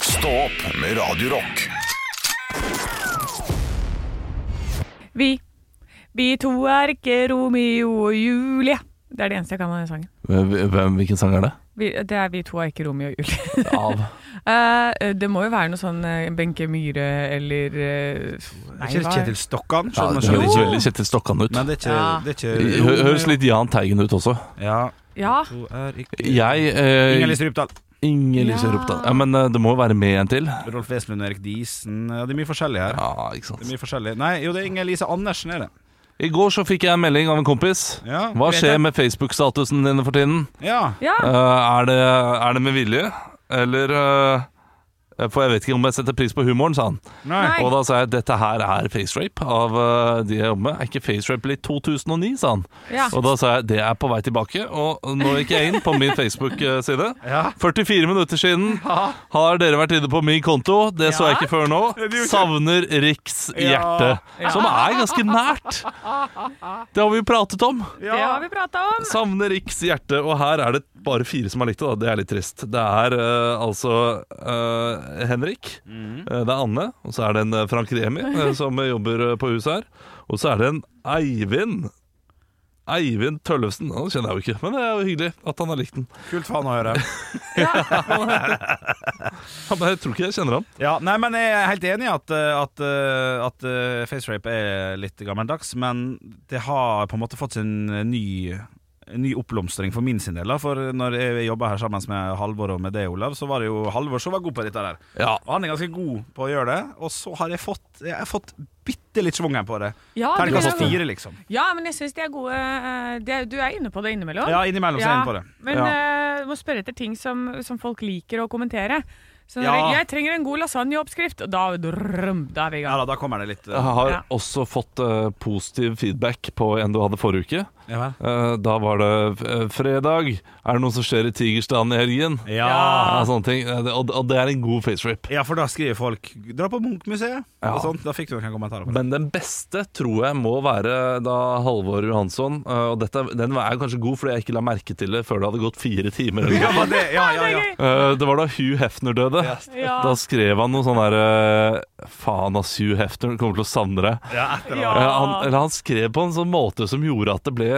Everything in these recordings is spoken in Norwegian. Stå opp med Radio Rock. Vi, vi to er ikke Romeo og Julie. Det er det eneste jeg kan av den sangen. Hvem, hvilken sang er det? Vi, det er Vi to er ikke Romeo og Julie. Av Eh, det må jo være noe sånn eh, Benke Myhre eller eh, nei, Ikke hva- Kjetil Stokkan? ja, skjønner Det du? høres veldig Kjetil Stokkan ut. Men det er ikke, Ja. det er Hø- ikke Høres litt Jahn Teigen ut også. Ja, Ja. hun er ikke Jeg eh, Inger-Lise Rypdal. Inger-Lise Ja. Ropdal. Ja, men eh, det må jo være med en til. Rolf Wesenlund, Erik Diesen ja, Det er mye forskjellig her. Ja, ikke Det er sant mye forskjellig Nei, jo, det er Inger-Lise Andersen, er det. I går så fikk jeg en melding av en kompis. Ja, Hva vet skjer jeg. med Facebook-statusen din for tiden? Ja. ja. Eh, er, det, er det med vilje? Eller eh, For jeg vet ikke om jeg setter pris på humoren, sa han. Nei. Nei. Og da sa jeg dette her er facerape av eh, de jeg jobber med. Er ikke facerape litt 2009, sa han. ja. Og da sa jeg det er på vei tilbake. Og nå gikk jeg inn på min Facebook-side. Ja. 44 minutter siden har dere vært inne på min konto. Det så jeg Ja. ikke før nå. Savner Riks hjerte. Som er ganske nært. Det har vi jo pratet om. Det har vi prata om. Savner Riks hjerte, og her er det bare fire som har likt det. da Det er litt trist. Det er eh, altså eh, Henrik, eh, det er Anne, og så er det en eh, Frank Remi eh, som jobber eh, på huset her. Og så er det en Eivind. Eivind Tøllefsen. Han kjenner jeg jo ikke, men det er jo hyggelig at han har likt den. Kult faen å høre. Han bare, Jeg tror ikke jeg kjenner han. Ja, nei, men Jeg er helt enig i at, eh, at, eh, at eh, facerape er litt gammeldags, men det har på en måte fått sin eh, ny en ny oppblomstring for min sin del. da, For når jeg jobba her sammen med Halvor og med deg, Olav, så var det jo Halvor som var god på dette der. Ja. Og han er ganske god på å gjøre det. Og så har jeg fått Jeg har fått bitte litt schwungen på det. Ja, du Terningkast er- fire, liksom. ja, men jeg syns de er gode eh, det, Du er inne på det innimellom. Ja, innimellom så er jeg inne på det. Men ja. eh, du må spørre etter ting som, som folk liker å kommentere. Så når Ja. jeg, jeg trenger en god lasagneoppskrift, og da, drrrrum, da er vi i ja gang. da, da kommer det litt eh, Jeg har Ja. også fått eh, positiv feedback på en du hadde forrige uke. Ja. vel. Eh, da var det eh, fredag. Er det noe som skjer i Tigerstaden i helgen? Ja. Ja, sånne ting. Eh, det- Og, og det er en god facerip. ja, for da skriver folk 'Dra på Munch-museet' Ja. og sånt. Da fikk du noen kommentarer på det. Men den beste tror jeg må være da Halvor Johansson. eh, Og dette, den er kanskje god fordi jeg ikke la merke til det før det hadde gått fire timer. eller noe. Ja, men det, ja, ja, ja. Eh, det var da Hugh Hefner døde. Ja. Da skrev han noe sånn derre Faen ass, Hugh Hefner kommer til å savne deg. ja etter det. Ja. Eh, Ah. han, eller han skrev på en sånn måte som gjorde at det ble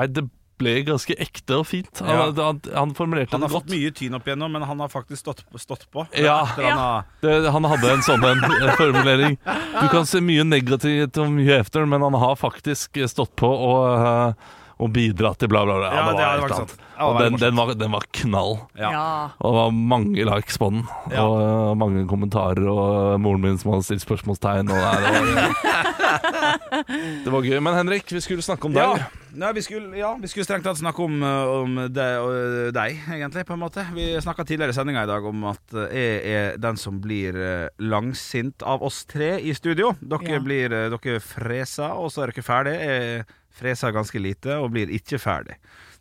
Nei, det ble ganske ekte og fint. Han, han, han formulerte Han har det fått godt. mye tyn opp igjennom, men han har faktisk stått, stått på. Ja. Etter han har, Det, han hadde en sånn en eh, formulering. Du kan se mye negativt om Hugh Hefner, men han har faktisk stått på og, eh, og bidratt til bla, bla, bla. Ja, det et er faktisk eller annet. sant. Ja, det var Og den, morsomt. den, var, den var knall. Ja. Og det var mange likes på den, Ja. og eh, mange kommentarer, og eh, moren min som hadde stilt spørsmålstegn. Og, nei, det, var, det var gøy. Men Henrik, vi skulle snakke om ja. deg. Nei, vi skulle, ja, vi skulle strengt tatt snakke om, eh, om deg, og eh, deg, egentlig, på en måte. Vi snakka tidligere i sendinga i dag om at eh, jeg er den som blir eh, langsint av oss tre i studio. Dere Ja. blir eh, Dere freser, og så er dere ferdig. Jeg freser ganske lite og blir ikke ferdig.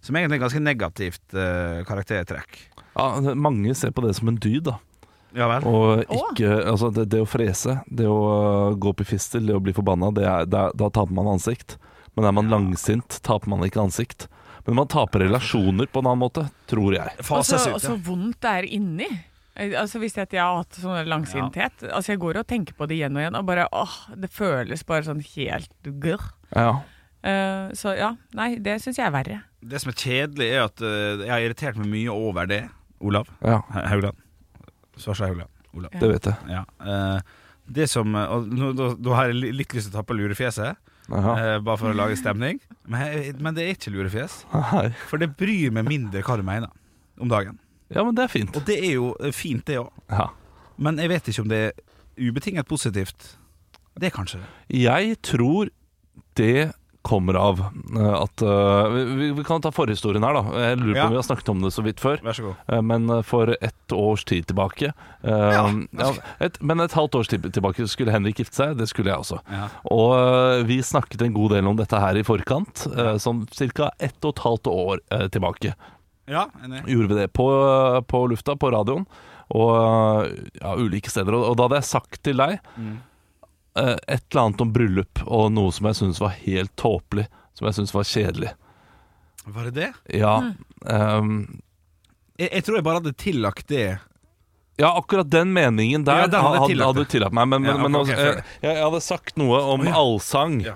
Som egentlig er ganske negativt eh, karaktertrekk. Ja, mange ser på det som en dyd, da. Ja vel? Og ikke, altså det, det å frese, det å øh, gå opp i fistel, det å bli forbanna, det er, det er, da taper man ansikt. Men er man langsint, taper man ikke ansikt. Men man taper relasjoner på en annen måte, tror jeg. Og så Fases ut. og så ja. vondt det er inni. Eh, Altså Hvis jeg, at jeg har hatt sånn langsinthet Altså Jeg går og tenker på det igjen og igjen, og bare åh, det føles bare sånn helt grr. Ja. Eh, så ja, nei, det syns jeg er verre. Det som er kjedelig, er at eh, jeg har irritert meg mye over det. Olav. ja Ha- Haugland. Svarstad Haugland. Olav. det vet jeg. Ja. eh, det som eh, og nå, da, da har jeg li- litt lyst til å ta på lurefjeset, Ja. eh, bare for å lage stemning. Men, jeg- men det er ikke lurefjes, Hei. for det bryr meg mindre hva du mener om dagen. ja, men det er fint. Og det er jo eh, fint, det òg. Ja. Men jeg vet ikke om det er ubetinget positivt. Det er kanskje det. Jeg tror det kommer av øh, at øh, vi- vi, vi kan ta forhistorien her, da. Jeg lurer på Ja. om vi har snakket om det så vidt før. Vær så god. Eh, Men eh, for ett års tid tilbake eh, ja, et, Men et halvt års tid tilbake skulle Henrik gifte seg, det skulle jeg også. Ja. Og eh, vi snakket en god del om dette her i forkant, eh, som ca. ett og et halvt år eh, tilbake. Ja, enig. Gjorde vi det på, eh, på lufta, på radioen, og eh, ja, ulike steder. Og, og da hadde jeg sagt til deg eh, et eller annet om bryllup, og noe som jeg syntes var helt tåpelig, som jeg syntes var kjedelig. Var det det? Ja. ehm, Jeg, jeg tror jeg bare hadde tillagt det Ja, akkurat den meningen der Ja, den hadde jeg hadde, tillatt hadde det. du tillatt meg. Men, men, Ja, men ok, ok, altså, fair. jeg, jeg hadde sagt noe om allsang. Ja.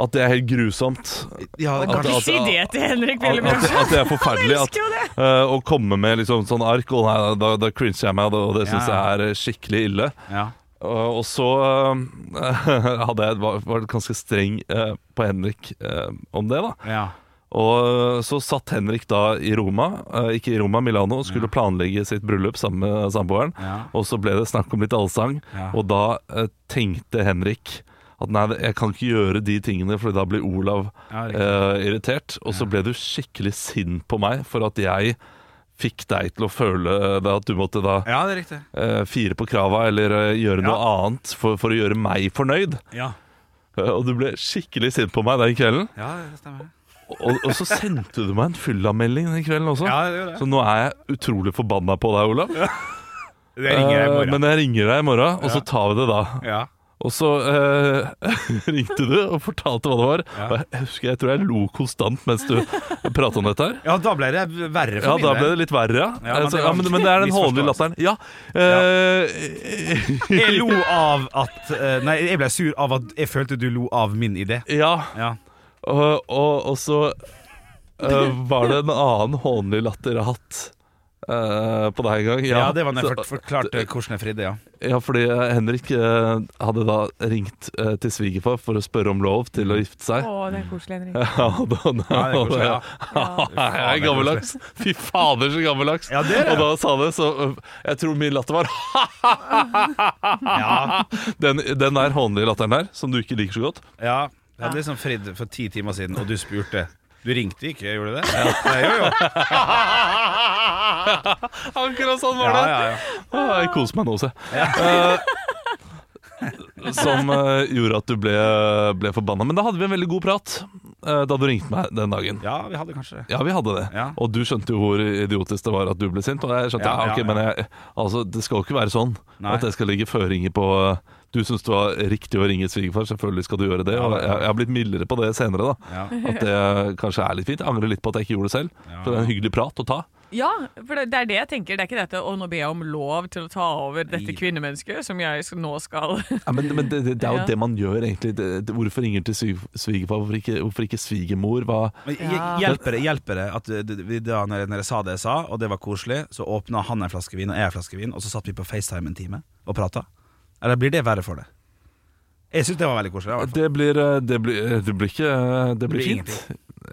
At det er helt grusomt. Ja, det At- kanskje Ikke si det til Henrik At, at, Willebranche! at det er forferdelig. Han altså- At, elsker jo det! eh, å komme med liksom sånn ark, og nei, da, da crincher jeg meg, og det, og det Ja, syns ja. jeg er eh, skikkelig ille. ja. Og og så eh, hadde jeg var, var ganske streng eh, på Henrik eh, om det, da. Ja. Og eh, så satt Henrik da i Roma, eh, ikke i Roma, Milano, og skulle planlegge sitt bryllup sammen med samboeren. Ja. Og så ble det snakk om litt allsang, Ja. og da eh, tenkte Henrik at nei, jeg kan ikke gjøre de tingene, for da blir Olav Ja, riktig. eh, irritert. Og så ble du skikkelig sint på meg for at jeg fikk deg til å føle eh, at du måtte da ja, det er riktig. eh, fire på krava eller eh, gjøre noe annet for, for å gjøre meg fornøyd. Ja, Eh, og du ble skikkelig sint på meg den kvelden. ja det stemmer. Og, og så sendte du meg en fyllamelding den kvelden også. Ja, det gjorde jeg. Så nå er jeg utrolig forbanna på deg, Olav. Det ringer jeg i Eh, morgen. Men jeg ringer deg i morgen, og så tar vi det da. Ja. Og så eh, ringte du og fortalte hva det var. Ja. Og jeg, husker, jeg tror jeg lo konstant mens du prata om dette her. ja, da ble det verre Ja, for da min ble del. det litt verre, ja. Ja, men Eh, så, det ja var men, men det er den misforståelse. hånlige latteren. Ja. eh, Jeg lo av at eh, Nei, jeg ble sur av at jeg følte du lo av min idé. ja. Ja. Og, og, og så eh, var det en annen hånlig latter jeg har hatt eh, på deg en gang. Ja, det var når jeg Så- fort- forklarte hvordan jeg fridde, ja. Ja, fordi eh, Henrik eh, hadde da ringt eh, til svigerfar for å spørre om lov til å gifte seg. Å, det er koselig, Henrik. Ja, da, da, Ja, det er koselig, ja. Ja, jeg er gammeldags. Fy fader, så gammeldags. Ja, det er det. Og da sa det, så øh, Jeg tror min latter var Ja, Den, den der hånlige latteren der, som du ikke liker så godt. ja. Jeg hadde liksom fridd for ti timer siden, og du spurte. Du ringte ikke, gjorde du det? Ja, jo, jo. Akkurat sånn Ja, var det. ja, ja. Åh, jeg koser meg nå, se. Eh, som eh, gjorde at du ble, øh, ble forbanna. Men da hadde vi en veldig god prat eh, da du ringte meg den dagen. ja, vi hadde kanskje det. Ja, vi hadde det. Ja. Og du skjønte jo hvor idiotisk det var at du ble sint. Og jeg skjønte, Ja, ja, ok, ja, ja. men jeg, altså, det skal jo ikke være sånn Nei. at jeg skal legge føringer på eh, Du syns det var riktig å ringe svigerfar, selvfølgelig skal du gjøre det. Og jeg, jeg har blitt mildere på det senere, da. Ja. At det kanskje er litt fint. Jeg angrer litt på at jeg ikke gjorde det selv. Ja. For det er en hyggelig prat å ta. Ja, for det, det er det jeg tenker. Det er ikke dette 'å, nå ber jeg om lov til å ta over dette kvinnemennesket', som jeg sk- nå skal Ja, men men det, det, det er jo Ja. det man gjør, egentlig. Det, det, hvorfor ringer til svig- svigerfar? Hvorfor ikke, hvorfor ikke svigermor? Hva Men hj- Ja. hjelper, det, hjelper det at du- du- vi da når jeg, når jeg sa det jeg sa, og det var koselig, så åpna han en flaske vin og jeg en flaske vin, og så satt vi på FaceTime en time og prata? Eller blir det verre for det? Jeg syns det var veldig koselig. i hvert fall. Det blir, eh, det blir, det blir ikke eh, Det blir blir fint.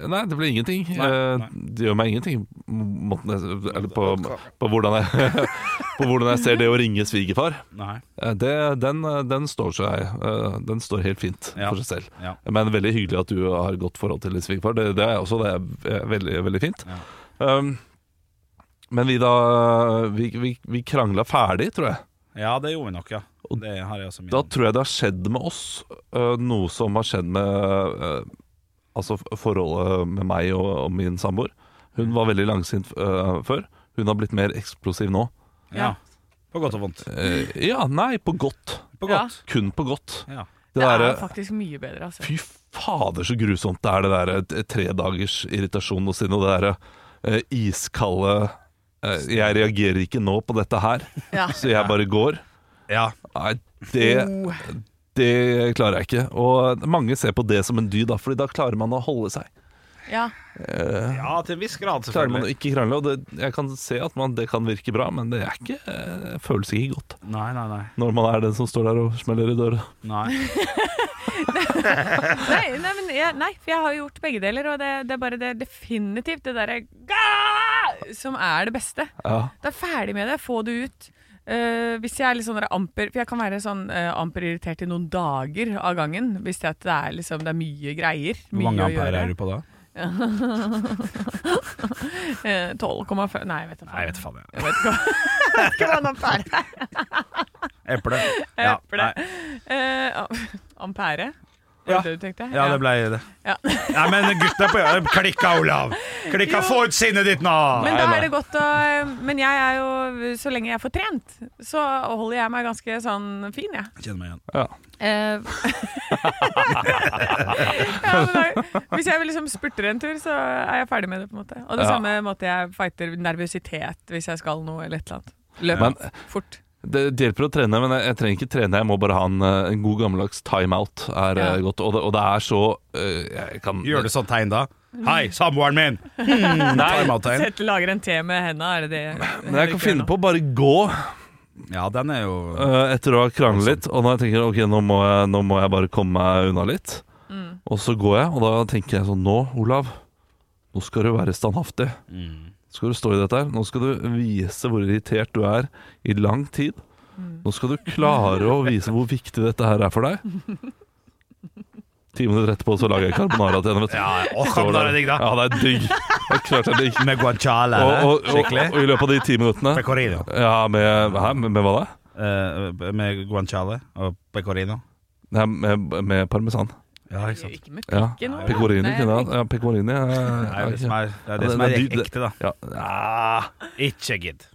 Nei, det blir ingenting. Nei, Eh, nei. Det gjør meg ingenting måten jeg, eller på, på, hvordan jeg, på hvordan jeg ser det å ringe svigerfar. Nei. Eh, Det, den, den står seg eh, Den står helt fint Ja. for seg selv. Ja. Men veldig hyggelig at du har et godt forhold til svigerfar. Det, det er også det er eh, veldig, veldig fint. Um, men vi da eh, Vi, vi, vi krangla ferdig, tror jeg. ja, det gjorde vi nok, ja. Og Det har jeg også min. Da tror jeg det har skjedd med oss øh, noe som har skjedd med øh, Altså f- forholdet med meg og, og min samboer. Hun var veldig langsint øh, før. Hun har blitt mer eksplosiv nå. ja. På godt og vondt. Eh, ja, nei, på godt. På Ja. godt. Kun på godt. Ja. Det Det er derre faktisk mye bedre, altså. Fy fader, så grusomt det er, det derre t- tre dagers irritasjon og sinne og det derre eh, iskalde eh, Jeg reagerer ikke nå på dette her, Ja. så jeg bare går. Ja. Nei, det Oh. Det klarer jeg ikke. Og mange ser på det som en dyd, da, Fordi da klarer man å holde seg. Ja. ja, til en viss grad, Klarer man å selvfølgelig. ikke krangle. Og det, jeg kan se at man, det kan virke bra, men det er ikke, eh, føles ikke godt Nei, nei, nei. når man er den som står der og smeller i døra. nei. Nei, nei, men jeg, nei, for jeg har gjort begge deler, og det, det er bare det definitivt det derre «Gah!» som er det beste. Ja. Da er jeg ferdig med det. Få det ut. Eh, hvis jeg er litt sånn der amper For jeg kan være sånn eh, amper irritert i noen dager av gangen. Hvis det, at det, er, liksom, det er mye greier. Hvor Mye mange å ampere gjøre. er du på da? Eh, 12,5 Nei, jeg vet da Nei, jeg faen. vet faen. jeg. Jeg vet ikke hva- jeg vet ikke hva en ampere er. Eple. Eple. nei. Eh, am- ampere? Var Ja. det det du tenkte? ja, det ble det. Ja. Nei, men gutta på Klikka, Olav! Klikka, Jo. få ut sinnet ditt nå! Men da nei. er det godt å eh, Men jeg er jo Så lenge jeg får trent, så holder jeg meg ganske sånn fin, jeg. Jeg Kjenner meg igjen. Ja. Eh, ja, men da, hvis jeg vil liksom spurter en tur, så er jeg ferdig med det. på en måte Og det Ja. samme måte jeg fighter nervøsitet hvis jeg skal noe eller et eller annet. Løp Men fort. det, det hjelper å trene, men jeg, jeg trenger ikke trene. Jeg må bare ha en, eh, en god gammeldags timeout. Er eh, Ja. godt. Og det, og det er så eh, Jeg kan Gjør du sånn tegn da? Mm. Hei, samboeren min! Hmm, Timeout-tegn. Sett, lager en te med henda, er det det? Men jeg kan finne på å bare gå Ja, den er jo eh, etter å ha kranglet litt. Og når jeg tenker ok, nå må jeg, nå må jeg bare komme meg unna litt. Og så går jeg, og da tenker jeg sånn Nå, Olav, nå skal du være standhaftig. Mm. Skal du stå i dette her? Nå skal du vise hvor irritert du er i lang tid. Nå skal du klare å vise hvor viktig dette her er for deg. Ti minutter etterpå så lager jeg carbonara til henne. vet du. Ja, ja. Åh, Står carbonara der. er digg, da. Ja, det er digg. Det er klart det er digg. Med guanciale. Og, og, og, Skikkelig. og i løpet av de ti minuttene Pecorino. Ja, med, hæ, med, med hva da? Eh, med guanciale og pecorino. Nei, med, med parmesan. Ja, altså. Ikke, ikke med Ja. pikken. Olav. Pecorino Nei, kunne jeg hatt. Ja, pecorino er, Det er jo er det som ikke- er, det, er det Ja, som er det- ek- det- ekte, da. ja. ah, Ikke gidd.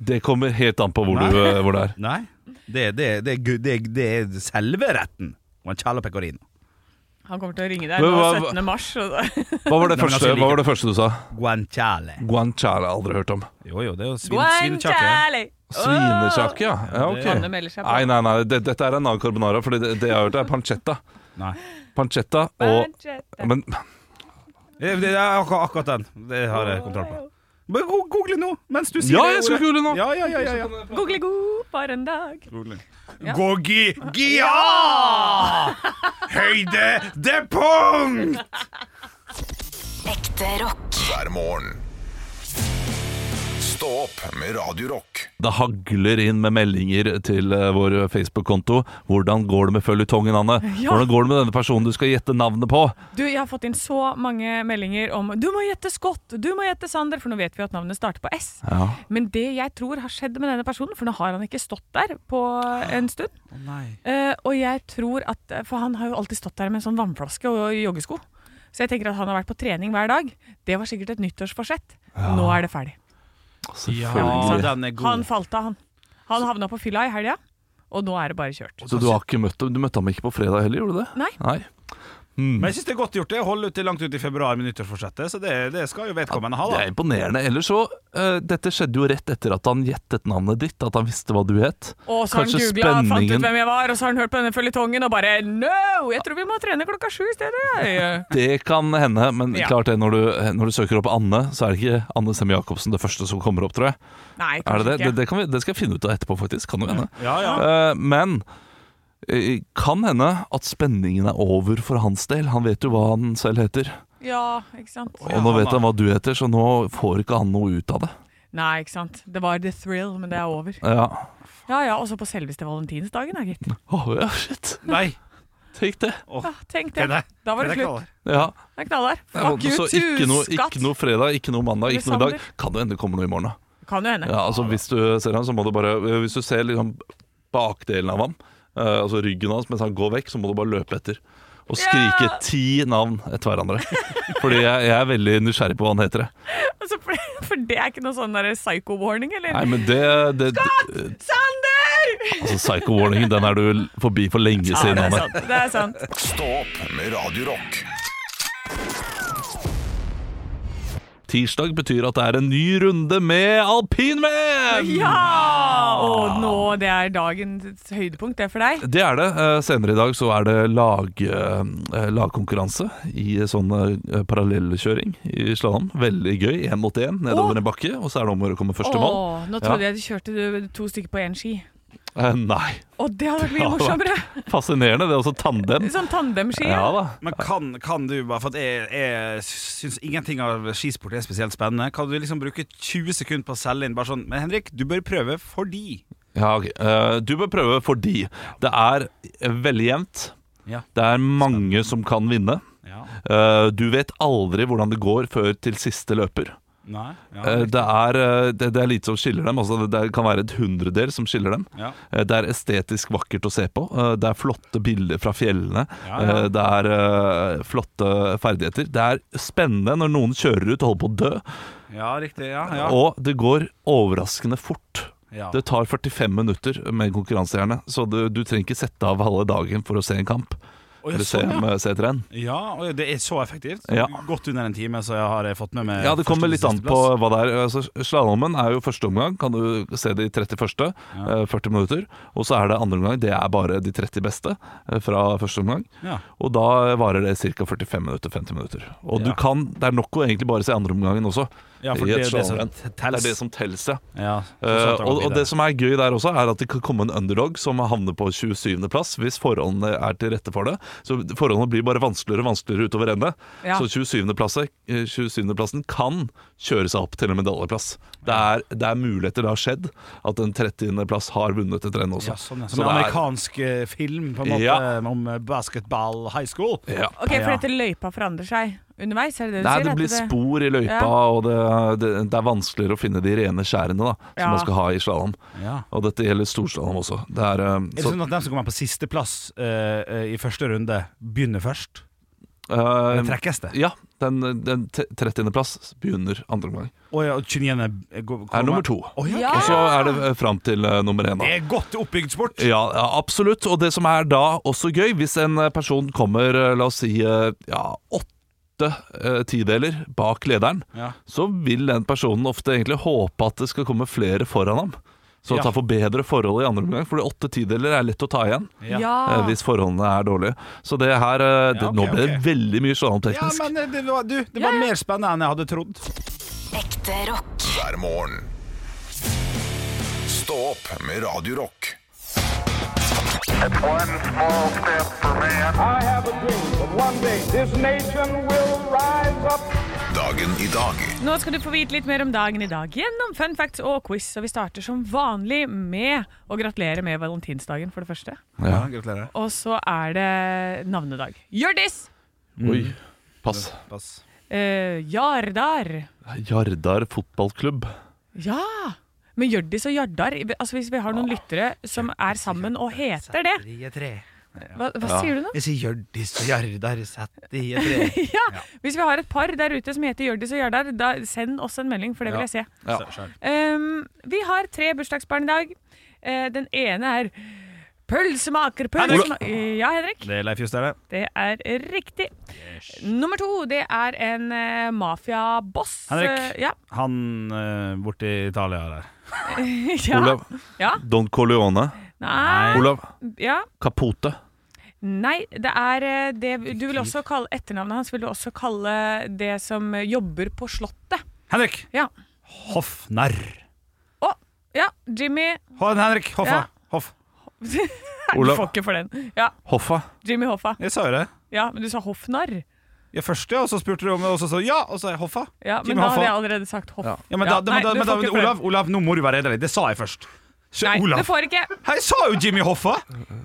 Det kommer helt an på hvor, du, hvor det er. Nei. Det, det, det, er gu- det, er- det er selve retten. Guanciale og pecorino. Han kommer til å ringe deg Men nå hva- 17. mars. Og da. Hva var det, Nei, men altså, første, jeg liker hva var det første du sa? Guanciale. Guanciale har jeg aldri hørt om. Jo, jo, det er jo svin, svinekjakke. Guanciale! Åh! Svinekjake, ja. ja Hanne ok. melder seg på. Nei, nei, nei. Det, dette er en annen carbonara, for det, det jeg har hørt, er pancetta. Nei. Pancetta og Pancetta. Men Det Eh, det er akkurat, akkurat den. Det har jeg kontroll på. Men go- google nå, mens du sier Ja, det jeg skal ordet. google nå! Ja, ja, ja, ja, ja. Google god for en dag. Ja. Gogi Gia! Høyde det punkt! Ekte rock. hver morgen. Stå opp med Radio Rock. Det hagler inn med meldinger til eh, vår Facebook-konto. Hvordan går det med føljetongen, Anne? Ja. Hvordan går det med denne personen du skal gjette navnet på? Du, Jeg har fått inn så mange meldinger om Du må gjette Scott, du må gjette Sander, for nå vet vi at navnet starter på S. Ja. Men det jeg tror har skjedd med denne personen, for nå har han ikke stått der på en stund Eh, Og jeg tror at eh, For han har jo alltid stått der med en sånn vannflaske og joggesko. Så jeg tenker at han har vært på trening hver dag. Det var sikkert et nyttårsforsett. Nå er det ferdig. Selvfølgelig. den er Han falt av, han. Han havna på fylla i helga, og nå er det bare kjørt. Så du har ikke møtt ham? Du møtte ham ikke på fredag heller, gjorde du det? Nei. Mm. Men jeg syns det er godt gjort det å holde ut til langt ut i februar med nyttårsforsettet, så det, det skal jo vedkommende ha, Det er da. imponerende. Ellers så eh, Dette skjedde jo rett etter at han gjettet navnet ditt, at han visste hva du het. Og så har han Kanskje googla, fant ut spenningen- hvem jeg var, og så har han hørt på denne føljetongen og bare No! Jeg tror vi må trene klokka sju i stedet. jeg». Det kan hende, men Ja. klart det, når du, eh, når du søker opp Anne, så er det ikke Anne Sem Jacobsen det første som kommer opp, tror jeg. Nei, Er det, det? kanskje Det, det, kan vi, det skal jeg finne ut av etterpå, faktisk. Kan jo hende. Ja, ja. Eh, men eh, kan hende at spenningen er over for hans del. Han vet jo hva han selv heter. ikke. Ja, ikke sant. Og Ja, nå han vet er- han hva du heter, så nå får ikke han noe ut av det. Nei, ikke sant. Det var the thrill, men det er over. Ja. Ja ja, også på selveste valentinsdagen, da, gitt. Åh, ja, shit. Nei. Tenk det. Ja, tenk det. Det er det. Da var det er slutt. knallhardt. Ja. Det er knallhardt. Fuck Så you ikke too, noe, skatt. ikke noe fredag, ikke noe mandag, ikke noe i dag. Alexander. Kan det hende det kommer noe i morgen, da. Kan jo hende. Ja, altså Hvis du ser han, så må du bare Hvis du ser liksom bakdelen av ham, eh, altså ryggen hans, mens han går vekk, så må du bare løpe etter. Og skrike Ja! ti navn etter hverandre. Fordi jeg, jeg er veldig nysgjerrig på hva han heter. jeg. Altså, for, for det er ikke noe sånn der psycho-warning, eller? Nei, men Eh, det, det, det Sander! Altså Psycho-warningen, den er du l- forbi for lenge Ja, siden, det er Anne. sant. Det er sant. Stå opp med Radio Rock Tirsdag betyr at det er en ny runde med alpinvm! Ja! ah. Og nå, det er dagens høydepunkt, det er for deg. Det er det. Eh, Senere i dag så er det lag, eh, lagkonkurranse i sånn eh, parallellkjøring i slalåm. Veldig gøy. Én mot én nedover Åh. en bakke, og så er det om å gjøre å komme først til mål. Åh, nå trodde jeg du kjørte du- to stykker på én ski. Eh, Nei. Å, det hadde vært mye Det hadde morsommere! Fascinerende. Det er også tandem. Sånn tandemski. Ja Ja. da. Men kan, kan du bare For at jeg, jeg syns ingenting av skisport er spesielt spennende. Kan du liksom bruke 20 sekunder på å selge inn bare sånn Men Henrik, du bør prøve fordi Ja, ok. Eh, Du bør prøve fordi det er veldig jevnt. Ja. Det er mange som kan vinne. Ja. Eh, Du vet aldri hvordan det går før til siste løper. Nei. Ja. Eh, Det er, eh, det, det er lite som skiller dem. Altså, det- det kan være et hundredel som skiller dem. Ja. Eh, Det er estetisk vakkert å se på. Eh, Det er flotte bilder fra fjellene. Ja, ja. Eh, Det er eh, flotte ferdigheter. Det er spennende når noen kjører ut og holder på å dø. ja, riktig. Ja, ja. Og det går overraskende fort. ja. Det tar 45 minutter med konkurransehjerne, så du, du trenger ikke sette av halve dagen for å se en kamp. Oi, Eller sånn, ja. C- C-tren. Ja, og det er så effektivt. Ja. Godt under en time, så jeg har fått med meg Ja, det første kommer til litt an siste på plass. hva det er. Altså, Slalåmen er jo første omgang, kan du se det i 31. eh, 40 minutter. Og så er det andre omgang, det er bare de 30 beste eh, fra første omgang. Ja. Og da varer det ca. 45 minutter, 50 minutter. Og du Ja. kan, det er nok å egentlig bare se andre omgangen også. Ja, for i et det er det som slalåmrenn. tels. Det er det som tels, ja. Ja, Eh, og, fortsatt har gått og videre. det som er gøy der også, er at det kan komme en underdog som havner på 27. plass, hvis forholdene er til rette for det. Så forholdene blir bare vanskeligere og vanskeligere utover rennet. Ja. Så 27. Plasset, eh, 27. plassen kan kjøre seg opp til en medaljeplass. Det er, det er muligheter, det har skjedd, at en 30. plass har vunnet et renn også. ja, sånn, ja. Så det Som en er- amerikansk eh, film på en måte Ja. om eh, basketball high school. Ja. Ok, For Ja. dette løypa forandrer seg underveis? Er det det du Nei, sier? det At blir spor i løypa, Ja. og det, det, det er vanskeligere å finne de rene skjærene da, som Ja. man skal ha i slalåm. Ja. Og dette gjelder storslalåm også. Det er, eh, Er det så, sånn at de som kommer på sisteplass uh, i første runde, begynner først? eh, Eller trekkes det? Ja, den, den te- 30. plass begynner andre omgang. Å ja, og 29. er- går- Er kommer- nummer to. Å ja, Ja. Og så er det eh, fram til eh, nummer én. Det da. er godt oppbygd sport! Ja, ja, absolutt. Og det som er da også gøy, hvis en eh, person kommer, eh, la oss si, eh, ja, åtte eh, tideler bak lederen, Ja. så vil den personen ofte egentlig håpe at det skal komme flere foran ham. Så Ja. at han får bedre forhold i andre omgang, for åtte tideler er lett å ta igjen. Ja. eh, Hvis forholdene er dårlige. Så det her eh, det, Ah. Ja, ok, Nå ble det ok. veldig mye Ja, slalåmteknisk. men eh, det var, du, det Ja, var ja. mer spennende enn jeg hadde trodd. Ekte rock. hver morgen. Stå opp med Radio Rock. One small step for man. I have a dream that one day this nation will rise up. Dagen i dag Nå skal du få vite litt mer om dagen i dag gjennom fun facts og quiz. Og vi starter som vanlig med å gratulere med valentinsdagen, for det første. Ja. Gratulerer. Og så er det navnedag. Hjørdis! Oi, pass. Pass. Eh, Jardar. Jardar fotballklubb. Ja! Men Hjørdis og Jardar altså Hvis vi har noen lyttere som er sammen og heter det Hva, hva sier du nå? Jeg sier Hjørdis og Gjerdar satt i et tre. Ja, Hvis vi har et par der ute som heter Hjørdis og Jardar, da send oss en melding, for det vil jeg se. Ja. Um, vi har tre bursdagsbarn i dag. Eh, den ene er pølsemaker. pølsemaker. Ja, Henrik. Det er Leif Justad, det. Det er riktig. Nummer to, det er en eh, mafiaboss. Henrik. Eh, ja. Han eh, borte i Italia der. ja. Olav. Ja. Don Corleone. Eh. Nei. Olav Ja. Capote. Nei, det er eh, det Du vil også kalle etternavnet hans vil du også kalle det som jobber på Slottet. Henrik Ja. Hoffnarr. Å! Ja, Jimmy Ho- Henrik Hoffa. Ja. Hoff. Du Olav. får ikke for den. Ja, Hoffa. Jimmy Hoffa. Jeg sa jo det. Ja, men du sa hoffnarr. Ja, først, ja, og så spurte du om det, og så sa jeg ja, og så sa jeg Hoffa. Ja, men Jimmy da Hoffa. hadde jeg allerede sagt hoff. Ja, men da, da, nei, da, du men da, får ikke for Olav, den. Olav, nå må du være redelig. Det sa jeg først. Så, Nei, du Olav. får ikke. Hei, jeg sa jo Jimmy Hoffa! Umulig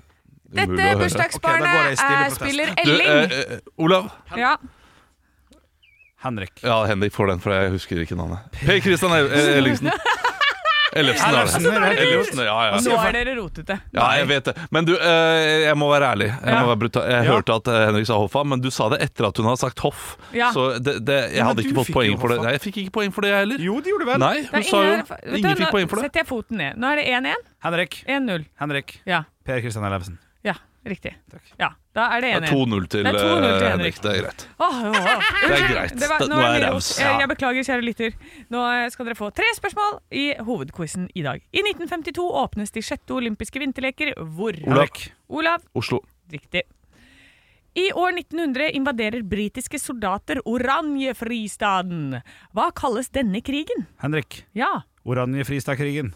Dette å høre. Ok, da går jeg i bursdagsbarnet stille eh, protest. spiller Du, eh, Elling. eh, Olav. Ja. Henrik. Ja, Henrik får den, for jeg husker ikke navnet. Per Christian El eh, Ellingsen. Ellefsen er det. Ellefsen, er det du? Ellefsen, ja, ja. Nå er dere rotete. ja, jeg vet det. Men du, eh, jeg må være ærlig. Jeg, må være brutal. jeg Ja. hørte at eh, Henrik sa Hoffa, men du sa det etter at hun hadde sagt Hoff. Ja. Så det, det, jeg Ja, men hadde ikke du fått fikk poeng jo for det. Hoffa. Nei, jeg fikk ikke poeng for det, jeg heller. Jo, det gjorde du vel. Nei, Det er hun sa jo ingen- vet du, Ingen fikk poeng Nå for det. setter jeg foten ned. Nå er det 1-1. Henrik. 1-0. Henrik. Ja. Per Kristian Ellefsen. ja, riktig. Takk. Ja, da er det Det er 1-1. 2-0 til, Det er 2-0 til eh, Henrik. Henrik. Det er greit. Åh, åh, åh. Det er Unnskyld, greit. det var- Det- nå er jeg raus. Ja. Jeg beklager, kjære lytter. Nå eh, skal dere få tre spørsmål i hovedquizen i dag. I 1952 åpnes de sjette olympiske vinterleker hvor? Olav. Henrik. Olav. Oslo. Riktig. I år 1900 invaderer britiske soldater Oranjefristaden. Hva kalles denne krigen? Henrik. Ja, Oranje-Fristad-krigen.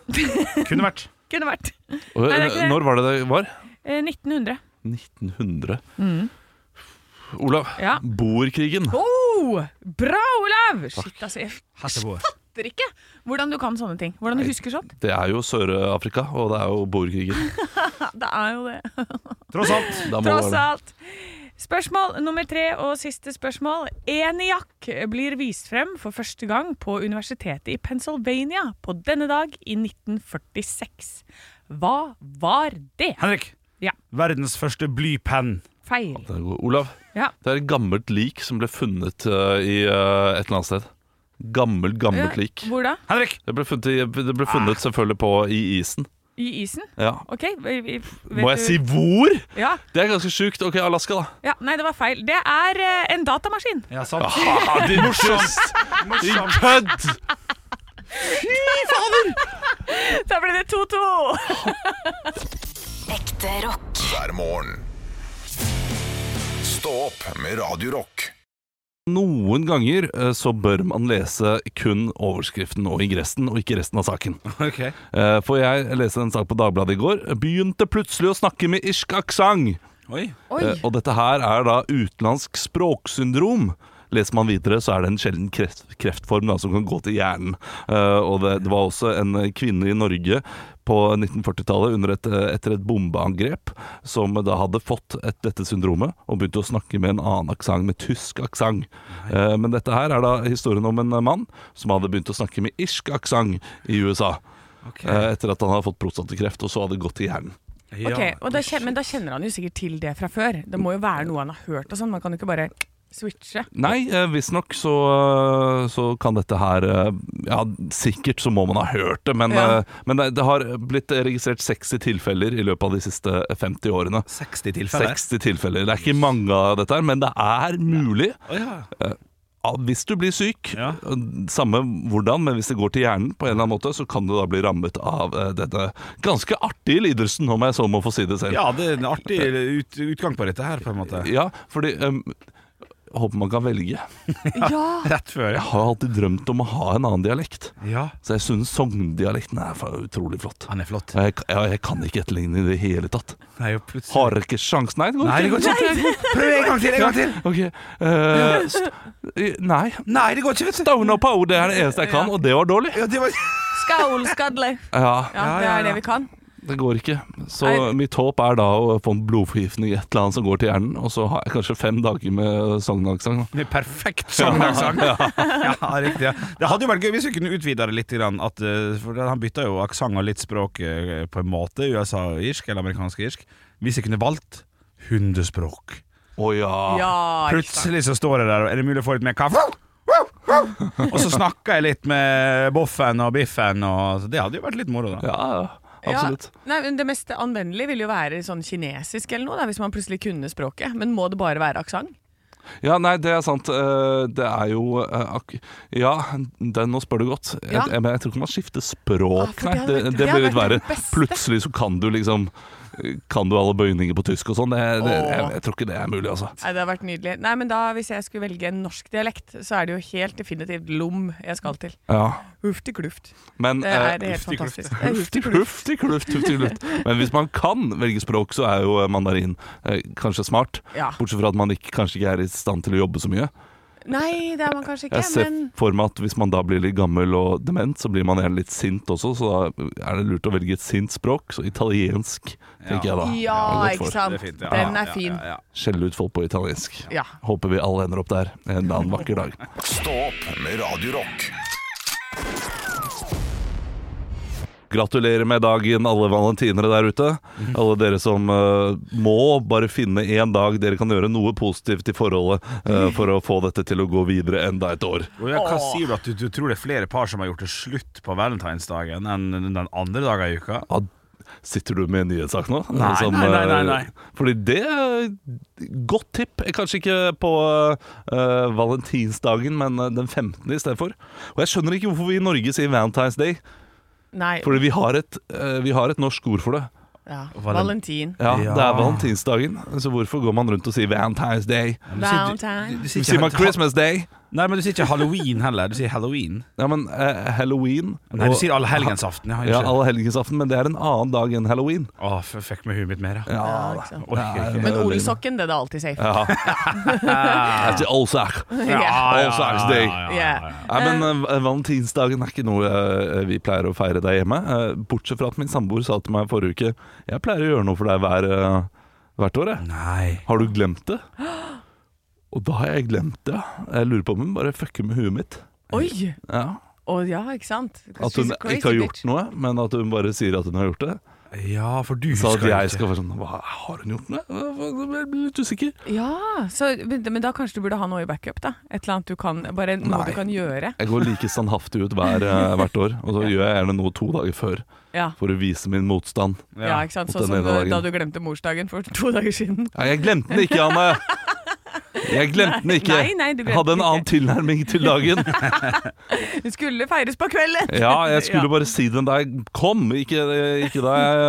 Kunne vært. kunne vært Og, Nei, det er ikke det. Når var det det var? eh, 1900. 1900. Olav, Mm. Ja. boerkrigen. Oh, bra, Olav! Shit, altså, jeg Hatteboer. fatter ikke hvordan du kan sånne ting. Hvordan du husker sånt. Det er jo Sør-Afrika, og det er jo boerkrigen. Ja, det er jo det. Tross alt. Da må det Tross være det. alt. Spørsmål nummer tre og siste spørsmål. Eniak blir vist frem for første gang på universitetet i Pennsylvania på denne dag i 1946. Hva var det? Henrik. Ja. Verdens første blypenn. Feil. Det er god- Olav, Ja. det er et gammelt lik som ble funnet eh, i eh, et eller annet sted. Gammelt, gammelt lik. Hvor da? Henrik. Ah. Det ble funnet, i- det ble funnet selvfølgelig på i isen. I isen? Ja. OK. vi- vi- vet Må du- jeg si hvor? ja. Det er ganske sjukt. OK, Alaska, da. ja. Nei, det var feil. Det er eh, en datamaskin. Ja, sant. Ah, din morsomt! Din kødd! Da ble det 2-2. Ekte rock. hver morgen. Stå opp med Radio Rock. Noen ganger eh, så bør man lese kun overskriften og ingressen, og ikke resten av saken. Ok. Eh, For jeg leste en sak på Dagbladet i går. Begynte plutselig å snakke med irsk aksent. Oi. Eh, Og dette her er da utenlandsk språksyndrom. Leser man videre, så er det en sjelden kreft, kreftform da, som kan gå til hjernen. Eh, og det, det var også en kvinne i Norge på 1940-tallet under et, eh, etter et bombeangrep som da hadde fått et, dette syndromet og begynte å snakke med en annen aksent, med tysk aksent. Eh, men dette her er da historien om en mann som hadde begynt å snakke med irsk aksent i USA. eh, etter at han hadde fått prostatakreft, og så hadde det gått til hjernen. Ja. Ok, og da kjen- Men da kjenner han jo sikkert til det fra før. Det må jo være noe han har hørt og sånn. Man kan jo ikke bare switche. Nei, eh, visstnok så, eh, så kan dette her eh, Ja, sikkert så må man ha hørt det, men, Ja. eh, men det, det har blitt registrert 60 tilfeller i løpet av de siste 50 årene. 60 tilfeller. 60 tilfeller. Det er ikke mange av dette her, men det er mulig. Å, ja. Ja, Hvis du blir syk, Ja. samme hvordan, men hvis det går til hjernen på en eller annen måte, så kan du da bli rammet av eh, denne ganske artige lidelsen, om jeg så må få si det selv. ja, det er en artig ut, utgang på dette her, på en måte. Ja, fordi um, Håper man kan velge. Ja! Rett før, Jeg ja. har alltid drømt om å ha en annen dialekt. ja. Så jeg synes sogndialekten er fa- utrolig flott. Han er flott. Jeg, jeg, jeg kan ikke etterligne i det hele tatt. Nei, jo, plutselig. Har ikke sjans. Nei, det går Nei, det går ikke. ikke. Prøv en gang til, en gang til. Ok, eh, st i- nei. Nei, det går ikke, vet du. Down og pow, det er det eneste jeg kan, og det var dårlig. Ja, det var... Skål, skadle. Ja, Ja, Ja, det ja, er det vi ja. kan. det går ikke. Så Nei. mitt håp er da å få en blodforgiftning i et eller annet som går til hjernen, og så har jeg kanskje fem dager med sognaksang. da. Det er Perfekt sangdagsang. Ja, riktig. Ja. Det hadde jo vært gøy hvis vi kunne utvida det litt. Grann, at, eh, for han bytta jo aksent og litt språk eh, på en måte, USA-irsk eller amerikansk-irsk. Hvis jeg kunne valgt hundespråk Å ja. Ja, ikke sant. Plutselig så står jeg der, og er det mulig å få litt mer kaffe? Og så snakker jeg litt med Boffen og Biffen, og så det hadde jo vært litt moro, da. Ja, absolutt. Ja. Nei, men det mest anvendelige vil jo være sånn kinesisk eller noe, da, hvis man plutselig kunne språket. Men må det bare være aksent? Ja, nei, det er sant. Eh, Det er jo eh, ak Ja, den, nå spør du godt. Jeg, Ja. jeg, men jeg tror ikke man skifter Ah, språk, for nei. det hadde Det, vært- det det hadde blir litt vært verre. det beste. Plutselig så kan du liksom Kan du alle bøyninger på tysk og sånn. Det, det, jeg, jeg tror ikke det er mulig, altså. Nei, det har vært nydelig. Nei, men da, Hvis jeg skulle velge en norsk dialekt, så er det jo helt definitivt lom jeg skal til. Ja. Hufti kluft. Men Det er eh, helt hufti kluft. fantastisk. Det er Hufti hufti kluft. kluft, hufti kluft, hufti kluft. Men hvis man kan velge språk, så er jo eh, mandarin eh, kanskje smart. Ja. Bortsett fra at man ikke, kanskje ikke er i stand til å jobbe så mye. Nei, det er man kanskje ikke, Jeg ser men for meg at hvis man da blir litt gammel og dement, så blir man gjerne litt sint også, så da er det lurt å velge et sint språk. Så italiensk, tenker jeg da. Ja, Det er godt ikke for. sant. Det er fint, ja. Den Ja, er fin. Ja, ja, ja. Skjelle ut folk på italiensk. Ja. Håper vi alle ender opp der en eller annen vakker dag. Stå opp med Radio Rock. Gratulerer med dagen, alle valentinere der ute. Alle dere som eh, må bare finne én dag dere kan gjøre noe positivt i forholdet eh, for å få dette til å gå videre enda et år. Og ja, hva sier du at du, du tror det er flere par som har gjort det slutt på valentinsdagen enn den andre dagen i uka? Ja, sitter du med en nyhetssak nå? Nei, nei, nei, nei, nei. eh, Fordi det er Godt tipp. Eh, Kanskje ikke på eh, valentinsdagen, men eh, den 15. i stedet for. Og jeg skjønner ikke hvorfor vi i Norge sier Valentine's Day. Nei. Fordi vi har et, eh, vi har et norsk ord for det. Ja. Valen- Valentin. Ja, Ja. Det er valentinsdagen, så hvorfor går man rundt og sier Valentine's Day? Valentine. Du sier Sier man ikke- Christmas Day? Nei, men du sier ikke halloween heller. Du sier halloween. Ja, men eh, halloween Nei, du og- sier allehelgensaften. Ja, ja, unnskyld. Allehelgensaften, men det er en annen dag enn halloween. Å, f- fuck med huet mitt mer, ja. Ja, ikke sant. Orker ikke. Men olsokken, det er da alltid safe. Ja. Jeg sier Olsak. Ja. Allsacks Day. Yeah. Nei, men eh, Valentinsdagen er ikke noe eh, vi pleier å feire der hjemme. Eh, bortsett fra at min samboer sa til meg forrige uke Jeg pleier å gjøre noe for deg hver, eh, hvert år. Jeg. Nei. Har du glemt det? Og da har jeg glemt det. Jeg lurer på om hun bare fucker med huet mitt. Oi! Ja. Å ja, ikke sant? At hun ikke har gjort noe, men at hun bare sier at hun har gjort det. Ja, for du Så at husker jeg ikke. skal være sånn Hva har hun gjort med? Jeg blir litt usikker. Ja, så, men men da kanskje du burde ha noe i backup, da? Et eller annet du kan, bare noe Nei. du kan gjøre. Jeg går like standhaftig ut hver, eh, hvert år, og så gjør jeg gjerne noe to dager før Ja, for å vise min motstand. ja. ikke sant? mot Sånn den som ene eh, dagen. da du glemte morsdagen for to dager siden. Ja, jeg glemte den ikke, Anne! Jeg glemte den ikke. Nei, nei, du glemte jeg hadde en den annen tilnærming til dagen. Det skulle feires på kvelden! Ja, jeg skulle Ja. bare si den da jeg kom, ikke, ikke da jeg,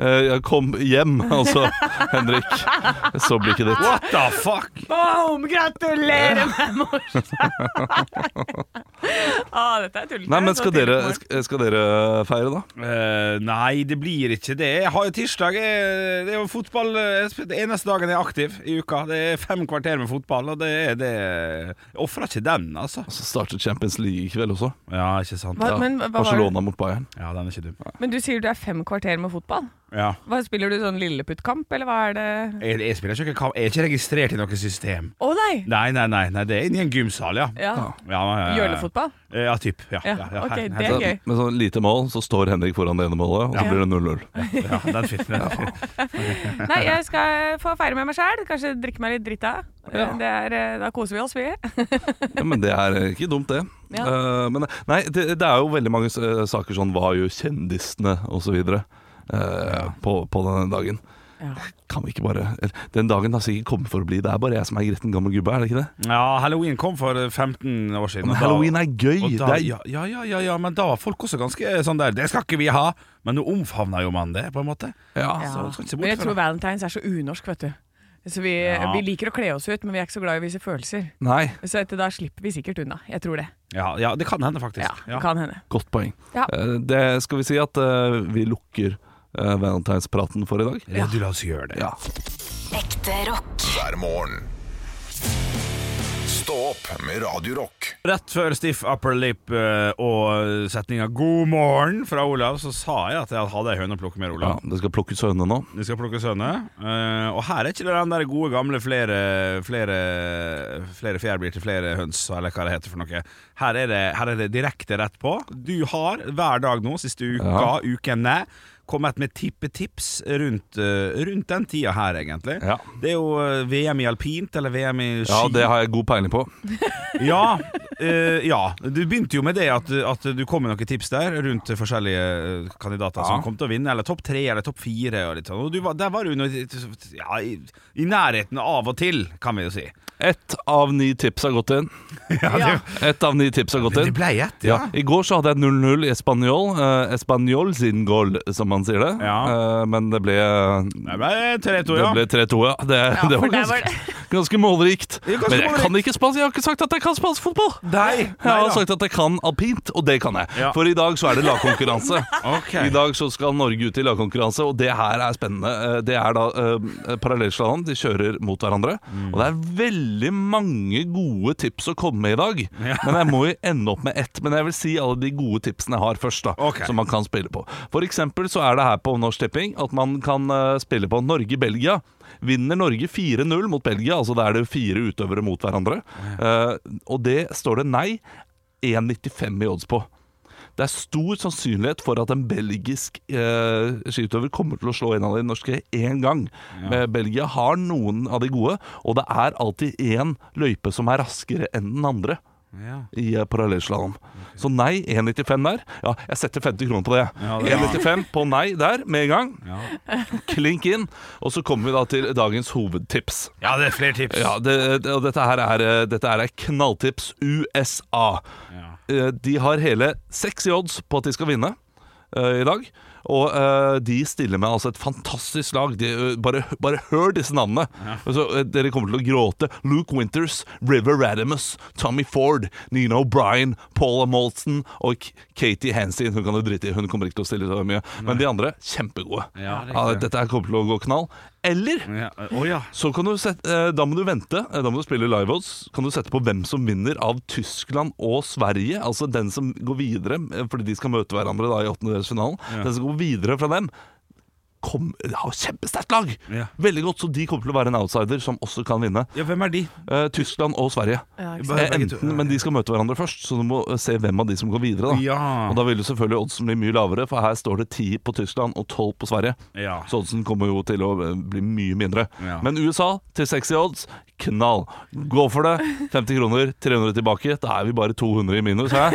eh, jeg kom hjem. Altså, Henrik, så blir ikke ditt. What the fuck? Boom! Gratulerer med morsdagen! ah, dette er tullete. Nei, men Så skal tidlig på dere, morgenen. sk- skal dere feire, da? Eh, nei, det blir ikke det. Jeg har jo tirsdag. Jeg, det er jo fotball eh, jeg spiller- Det eneste dagen jeg er aktiv i uka. Det er fem kvarter med fotball, og det er det Jeg ofrer ikke den, altså. Så starter Champions League i kveld også. Ja, ikke sant? hva, Ja, men, hva, var det? Barcelona mot Bayern. ja den er ikke dum. men du sier du er fem kvarter med fotball. Ja. Hva Spiller du sånn lilleputtkamp, eller hva er det Jeg, jeg spiller ikke kamp. Jeg er ikke registrert i noe system. Å nei! Nei, nei, nei. nei det er inni en gymsal, ja. Ja. Ja, ja, ja. Hjørnefotball? Eh, Ja, typ. Ja, Ja, ok, her- her- det er Så, gøy. med sånn lite mål, så står Henrik foran det ene målet, og så Ja. blir det 0-0. Ja, den er fin. Den er fin. Nei, jeg skal få feire med meg sjæl. Kanskje drikke meg litt drita. Ja. Det er, eh, da koser vi oss, vi. Ja, men det er eh, ikke dumt, det. Ja. Eh, men nei, det, det er jo veldig mange eh, saker sånn Hva gjør kjendisene, osv. Uh, på, på denne dagen. Kan vi ikke bare eller, Den dagen har sikkert kommet for å bli. Det er bare jeg som er gretten gammel gubbe, er det ikke det? ja, halloween kom for 15 år siden. Men og da- halloween er og gøy! da, det er, ja, ja, ja, ja, ja, men da var folk også ganske eh, sånn der Det skal ikke vi ha! Men nå omfavner jo man det, på en måte. ja. Ja. så skal ikke se bort Men jeg fra tror det. valentines er så unorsk, vet du. Så vi, Ja. vi liker å kle oss ut, men vi er ikke så glad i å vise følelser. Nei, Så etter da slipper vi sikkert unna. Jeg tror det. Ja, ja, det kan hende, faktisk. Ja, det kan hende. godt poeng. Ja. Eh, det skal vi si at eh, vi lukker uh, valentinspraten for i dag. Ja, du, la oss gjøre det. Ja. Ekte rock. hver morgen. Stå opp med Radio Rock. Rett før Stiff Upper Lip eh, og setninga 'God morgen' fra Olav, så sa jeg at jeg hadde ei høne å plukke med ja, Olav. Det skal plukkes høner nå. Vi skal plukke sønner. eh, og her er ikke det den der gode gamle flere, flere, flere fjær blir til flere høns, eller hva det heter for noe. Her er det, her er det direkte rett på. Du har hver dag nå, siste uka, Ja. ukene, kommet med tippetips rundt, eh, rundt den tida her, egentlig. Ja. Det er jo eh, VM i alpint, eller VM i ski. ja, det har jeg god peiling på. Ja, eh, ja. Du begynte jo med det at, at du kom med noen tips der rundt forskjellige eh, kandidater som Ja. kom til å vinne, eller topp tre eller topp fire. Og litt sånn. og du var, der var du nå ja, i, i nærheten av og til, kan vi jo si. Ett av ni tips har gått inn. Ja. Ett av ni tips har gått inn. ble ett, Ja. I går så hadde jeg 0-0 i Español. Eh, Español sin goal, som man sier det. Ja. Eh, men det ble, Det ble 3-2, det ja. ble 3-2, ja. Det, det for var der ganske, var det- ganske målrikt. Ja, ganske men jeg målrikt. kan ikke spansk. Jeg har ikke sagt at jeg kan spansk fotball. Nei, Jeg nei har da. sagt at jeg kan alpint, og det kan jeg. Ja. For i dag så er det lagkonkurranse. Ok. I dag så skal Norge ut i lagkonkurranse, og det her er spennende. Eh, Det er da eh, parallellslalåm. De kjører mot hverandre. Mm. Og det er veldig mange gode tips å komme med i dag. Ja. Men jeg må jo ende opp med ett. Men jeg vil si alle de gode tipsene jeg har først, da. Ok. Som man kan spille på. For eksempel så er det her på Norsk Tipping at man kan eh, spille på Norge-Belgia. Vinner Norge 4-0 mot Belgia, altså da er det fire utøvere mot hverandre. Eh, og det står det nei 1,95 i odds på. Det er stor sannsynlighet for at en belgisk eh, skiutøver kommer til å slå en av de norske én gang. Eh, Belgia har noen av de gode, og det er alltid én løype som er raskere enn den andre Ja. i eh, parallellslalåm. Så nei 1,95 der. Ja, jeg setter 50 kroner på det. Ja, det er bra. 1,95 på nei der med en gang. Ja. Klink inn. Og så kommer vi da til dagens hovedtips. ja, det er flere tips. Ja, det, det, og dette her er, eh, dette her er knalltips USA. Ja. Eh, De har hele seks i odds på at de skal vinne eh, i dag. Og eh, de stiller med altså et fantastisk lag. De, eh, bare, bare hør disse navnene! Altså, eh, dere kommer til å gråte. Luke Winters, River Radimus, Tommy Ford, Nina O'Brien, Paula Molson og K- Katie Hansen. Hun kan du drite i, hun kommer ikke til å stille så mye. Men de andre, kjempegode. Ja, riktig. Ja, dette her kommer til å gå knall. Eller Ja, Å ja. så kan du sette, eh, da må du vente, eh, da må du spille live odds. Kan du sette på hvem som vinner av Tyskland og Sverige? Altså den som går videre, eh, fordi de skal møte hverandre da i åttendedelsfinalen. Den som går videre fra dem, kom, har kjempesterkt lag. Ja. Veldig godt, Så de kommer til å være en outsider som også kan vinne. Ja, hvem er de? Eh, Tyskland og Sverige. Ja, ikke Bare- sant? Eh, begge to. enten, men de skal møte hverandre først, så du må eh, se hvem av de som går videre. Da. Ja. Og da vil jo selvfølgelig oddsen bli mye lavere, for her står det 10 på Tyskland og 12 på Sverige. Ja. Så oddsen kommer jo til å eh, bli mye mindre. Ja. Men USA til 60 odds, knall! Gå for det! 50 kroner, 300 tilbake. Da er vi bare 200 i minus, hæ?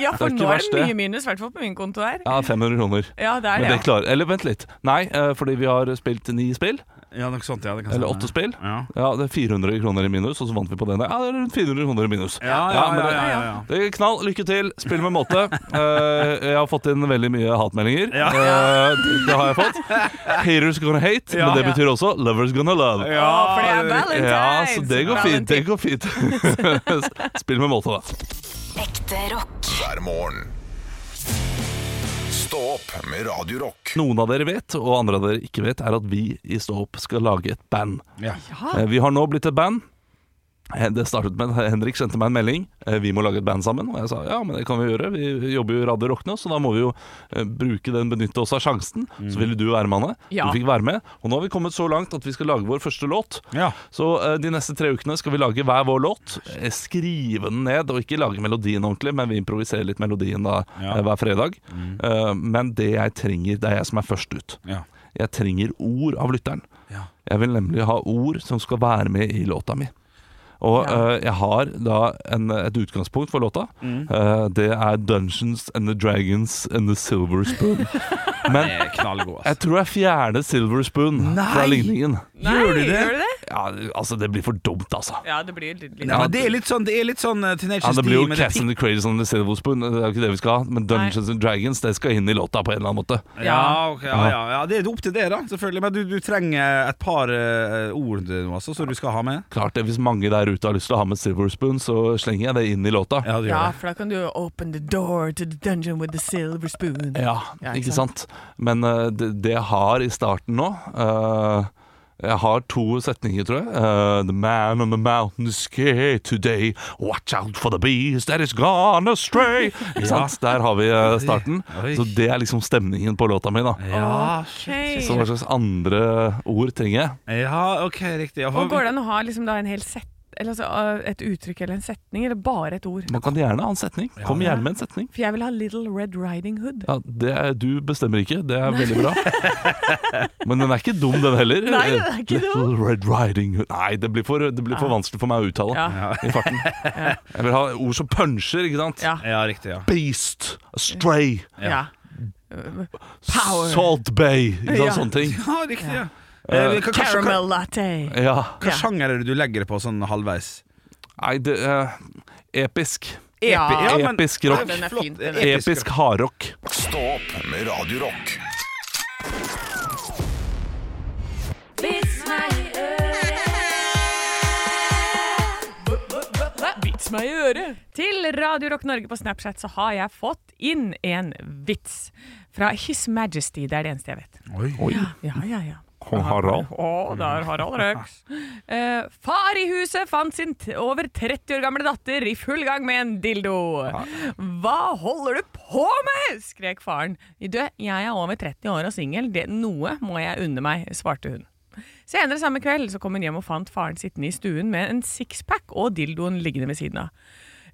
Ja, for Det er ikke nå er verst, det det. mye minus, i hvert fall på min konto her. Ja, 500 kroner. Ja, det er Men det. det ja. klarer Eller vent litt. Nei, eh, fordi vi har spilt ni spill. Ja, noe sånt, ja, det kan Eller stemme. åtte spill. Ja. Ja, det er 400 kroner i minus, og så vant vi på den. Ja, det er rundt 400 kroner i minus. Ja, ja, men ja, det- ja, ja, ja. Det er knall, lykke til, spill med måte. Eh, jeg har fått inn veldig mye hatmeldinger. Eh, det, det har jeg fått. Haters gonna hate, Ja. men det betyr også lovers gonna love. Ja, Å, for det er valentines! Ja, så det går fint. Valentine. Det går fint. spill med måte, da. Ekte rock. hver morgen. Stå opp med Radio Rock. Noen av dere vet, og andre av dere ikke vet, er at vi i Stå opp skal lage et band. Ja. Eh, Vi har nå blitt et band. Eh, Det startet med Henrik sendte meg en melding. Eh, Vi må lage et band sammen. Og jeg sa ja, men det kan vi gjøre. Vi jobber jo i Radio Rock nå, så da må vi jo eh, bruke den, benytte oss av sjansen. Så ville du være med, Anne. Mm. Ja. Du fikk være med. Og nå har vi kommet så langt at vi skal lage vår første låt. Ja. Så eh, de neste tre ukene skal vi lage hver vår låt. Eh, Skrive den ned, og ikke lage melodien ordentlig, men vi improviserer litt melodien da Ja. Mm. eh, hver fredag. Eh, Men det jeg trenger, det er jeg som er først ut. Ja. Jeg trenger ord av lytteren. Ja. Jeg vil nemlig ha ord som skal være med i låta mi. Og Ja. eh, jeg har da en, et utgangspunkt for låta. Mm. Eh, det er 'Dungeons and the Dragons and the Silver Spoon'. Men Det er knallgod, jeg altså. tror jeg fjerner 'Silver Spoon' fra Nei! ligningen. Nei, Gjør du det? Gjør du det? Ja, altså, det blir for dumt, altså. Ja, det blir litt, litt. Ja, men det er litt sånn, det er litt sånn eh, Tenacious Ja, det blir jo D, men det er Cats and the Cradles and the Silver Spoon, det er jo ikke det vi skal ha. Men Dungeons and Dragons, det skal inn i låta på en eller annen måte. Ja, ok, ja, ja, ja, det er opp til det da, selvfølgelig Men du, du trenger et par eh, ord nå altså, Som du skal ha med Klart det, Hvis mange der ute har lyst til å ha med Silver Spoon, så slenger jeg det inn i låta. Ja, du Ja, for da kan du jo open the door to the dungeon with the silver spoon. Ja, Ja, ikke ikke sant? Men eh, det, det jeg har i starten nå eh, Jeg har to setninger, tror jeg. Eh, the man on the mountain is scared today. Watch out for the beast that is gone astray. Ikke sant? Der har vi eh, starten. Oi. Så det er liksom stemningen på låta mi, da. Ja, Ok. Så hva slags andre ord trenger jeg? ja ok, riktig Og går det an å ha liksom da en hel set, eller altså, uh, et uttrykk eller en setning, eller bare et ord? Man kan gjerne ha en setning. Kom gjerne med en setning. For jeg vil ha Little Red Riding Hood. Ja, det er, du bestemmer ikke, det er veldig bra. Men den er ikke dum, den heller. Nei, den er ikke Little Red Riding Hood Nei, det blir for, det blir for vanskelig for meg å uttale Ja. i farten. Jeg vil ha ord som puncher, ikke sant? Ja. Ja, riktig, ja Beast, Stray, ja. Power. Salt Bay, ikke sant? Ja. sånne ting. Ja, riktig, ja Eh, hva, hva, hva, Caramel latte. Ja. hva sjanger er det du legger det på sånn halvveis? Nei, det er episk. Ja. Epi- men- Episk rock. Nei, Ah. Den er flott. fin, den er Episk Episk hardrock. Stå opp med Radio Rock. Vits meg i øret. Til Radio Rock Norge på Snapchat så har jeg fått inn en vits fra His Majesty. Det er det eneste jeg vet. Oi, Ja, ja, ja. Kong Harald. Å, der Harald Røks. Eh, far i huset fant sin t over 30 år gamle datter i full gang med en dildo. Hva holder du på med? skrek faren. Du, jeg er over 30 år og singel. Det- Noe må jeg unne meg, svarte hun. Senere samme kveld så kom hun hjem og fant faren sittende i stuen med en sixpack og dildoen liggende ved siden av.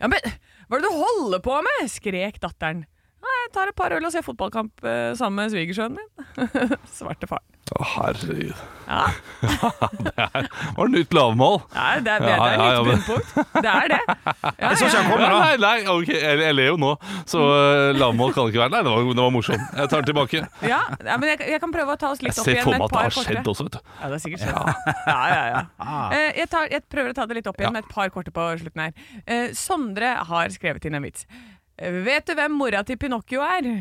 Ja, men hva er det du holder på med? skrek datteren. Nei, jeg tar et par øl og ser fotballkamp eh, sammen med svigersønnen min, svarte faren. Å, herregud. Ja. Det var nytt lavmål. Nei, det er, det er, Ja, ja, ja, litt men- bunnpunkt. Det er det. Ja, ja. Ja, nei, nei, ok, jeg, jeg ler jo nå, så uh, lavmål kan det ikke være. Nei, det var, det var morsomt. Jeg tar den tilbake. Ja, ja, men jeg, jeg kan prøve å ta oss Jeg litt opp ser igjen for med et meg at det par har skjedd korte. også, vet du. Ja, det er sikkert skjedd. Ja, ja, ja. Eh, Jeg, tar, jeg prøver å ta det litt opp igjen med et par korte på slutten her. Eh, Sondre har skrevet inn en vits. Eh, Vet du hvem mora til Pinocchio er?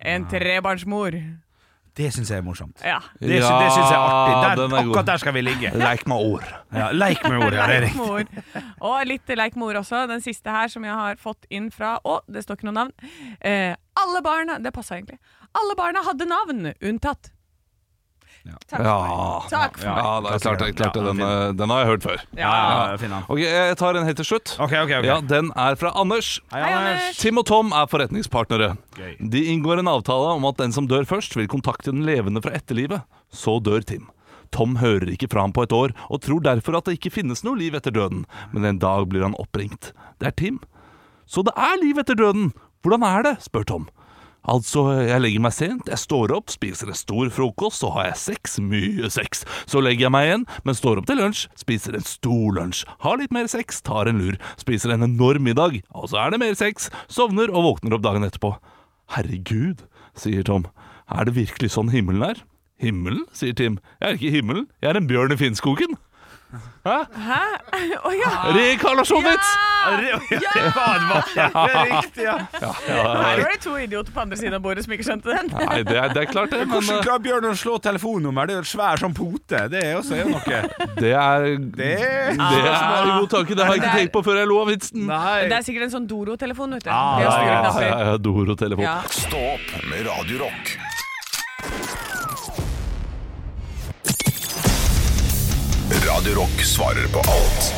En trebarnsmor. Det synes jeg er morsomt Ja. Det, sy- det synes jeg er Ja, artig der, den er god. Akkurat der skal vi ligge Leik med ord. ja, Leik med ordet, ja, det er riktig Leikmor. Og litt leikmor også. Den siste her som jeg har fått inn fra Å, det står ikke noe navn. Eh, alle barna Det passa egentlig. Alle barna hadde navn, unntatt Takk. Ja. Takk for meg. Ja, det er klart, det er klart det. Ja, Den, fin. eh, den har jeg hørt før. Ja, ja, fin han. Ok, Jeg tar en helt til slutt. Ok, ok, ok. Ja, Den er fra Anders. Hei, Hei, Anders. Anders. Tim og Tom er forretningspartnere. Gøy. De inngår en avtale om at den som dør først, vil kontakte den levende fra etterlivet. Så dør Tim. Tom hører ikke fra ham på et år, og tror derfor at det ikke finnes noe liv etter døden. Men en dag blir han oppringt. Det er Tim. Så det er liv etter døden! Hvordan er det? spør Tom. Altså, jeg legger meg sent, jeg står opp, spiser en stor frokost, så har jeg sex, mye sex. Så legger jeg meg igjen, men står opp til lunsj, spiser en stor lunsj, har litt mer sex, tar en lur, spiser en enorm middag, og så er det mer sex, sovner og våkner opp dagen etterpå. Herregud, sier Tom, er det virkelig sånn himmelen er? Himmelen, sier Tim, jeg er ikke i himmelen, jeg er en bjørn i Finnskogen. Hæ? Å ja. Reinkarnasjonsvits! Ja! Det var- det var riktig, ja. Her var det to idioter på andre siden av bordet som ikke skjønte den. Nei, det er, det er klart det, men Hvordan klarer Bjørn å slå telefonnummer? Det er jo et svær sånn pote. Det er også er jo noe. eh, det er Det er Det er en god tanke. Det har jeg ikke tenkt på før jeg lo av vitsen. Det Nei. er sikkert en sånn Doro-telefon, vet du. Ah, Det er ja, styrer ja, knapper. Ja, ja, Doro telefon. Ja. Stå opp med Radio Rock. Radio Rock svarer på alt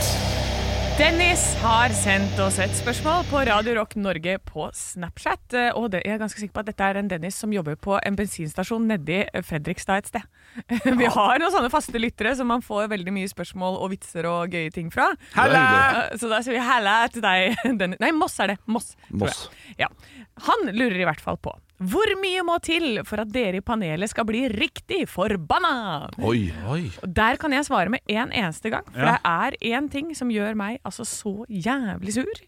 Dennis har sendt oss et spørsmål på Radio Rock Norge på Snapchat. eh, Og det, jeg er ganske sikker på at dette er en Dennis som jobber på en bensinstasjon nedi eh, Fredrikstad et sted. Vi har noen sånne faste lyttere som man får veldig mye spørsmål og vitser og gøye ting fra. Halla! Eh, Så da sier vi halla til deg, Dennis. Nei, Moss er det. Moss. tror jeg. Moss. Ja. Han lurer i hvert fall på hvor mye må til for at dere i panelet skal bli riktig forbanna? Oi. Og Der kan jeg svare med en eneste gang, for Ja. det er én ting som gjør meg altså så jævlig sur.